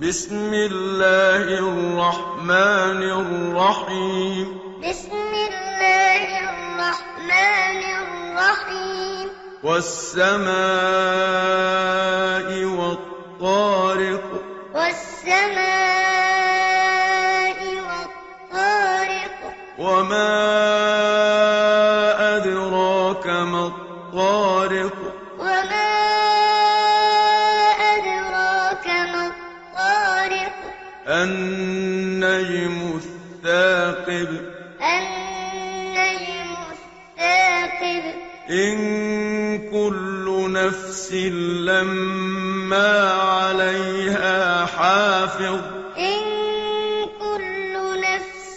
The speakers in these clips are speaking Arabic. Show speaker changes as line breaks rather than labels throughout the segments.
بِسْمِ اللَّهِ الرَّحْمَٰنِ الرَّحِيمِ
بسم الله الرحمن الرحيم
وَالسَّمَاءِ وَالطَّارِقِ
والسماء والطارق
وَمَا أَدْرَاكَ مَا الطَّارِقُ
وما أدراك ما الطارق
النَّجْمُ الثَّاقِبُ
النجم الثاقب
إِن كُلُّ نَفْسٍ لَّمَّا عَلَيْها حَافِظٌ
إن كل نفس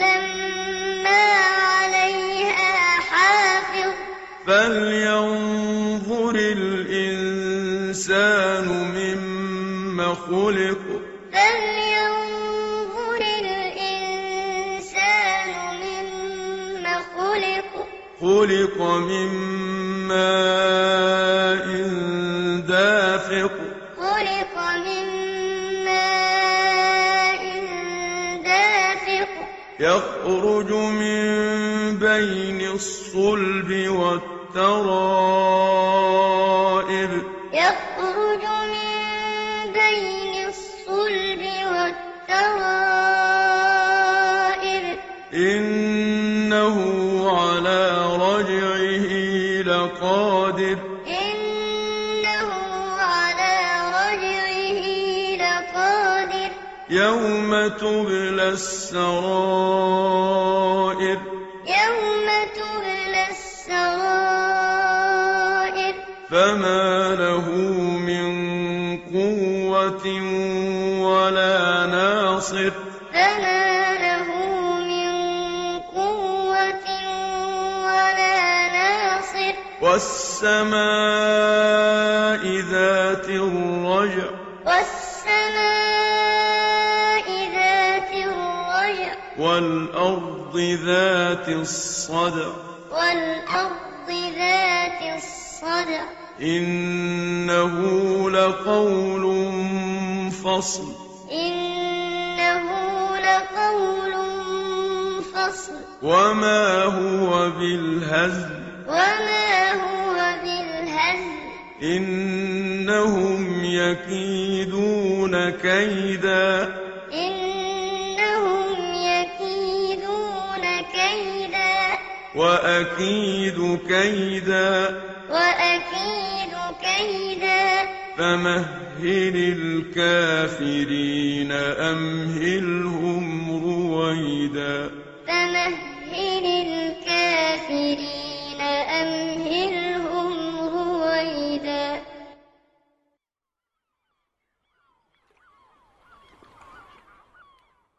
لما عليها حافظ
فَلْيَنظُرِ الْإِنسَانُ مِمَّ خُلِقَ
فلينظر الإنسان مما خلق
خُلِقَ مِن مَّاءٍ دَافِقٍ
خلق من ماء دافق
يَخْرُجُ مِن بَيْنِ الصُّلْبِ وَالتَّرَائِبِ
يخرج من بين الصلب والترائب
إِنَّهُ عَلَىٰ رَجْعِهِ لَقَادِرٌ
إنه على رجعه لقادر
يَوْمَ تُبْلَى السَّرَائِرُ
يوم تبلى السرائر
فَمَا لَهُ مِن قُوَّةٍ وَلَا نَاصِرٍ
فما له من قوة ولا ناصر
وَالسَّمَاءِ ذَاتِ الرَّجْعِ
والسماء ذات الرجع
وَالْأَرْضِ ذَاتِ الصَّدْعِ
والأرض ذات الصدع
إِنَّهُ لَقَوْلٌ فَصْلٌ
إنه لقول فصل
وَمَا هُوَ بِالْهَزْلِ
وما هو بالهزل
إِنَّهُمْ يَكِيدُونَ كَيْدًا
إنهم يكيدون كيدا
وَأَكِيدُ كَيْدًا
وأكيد كيدا
فَمَهِّلِ الْكَافِرِينَ أَمْهِلْهُمْ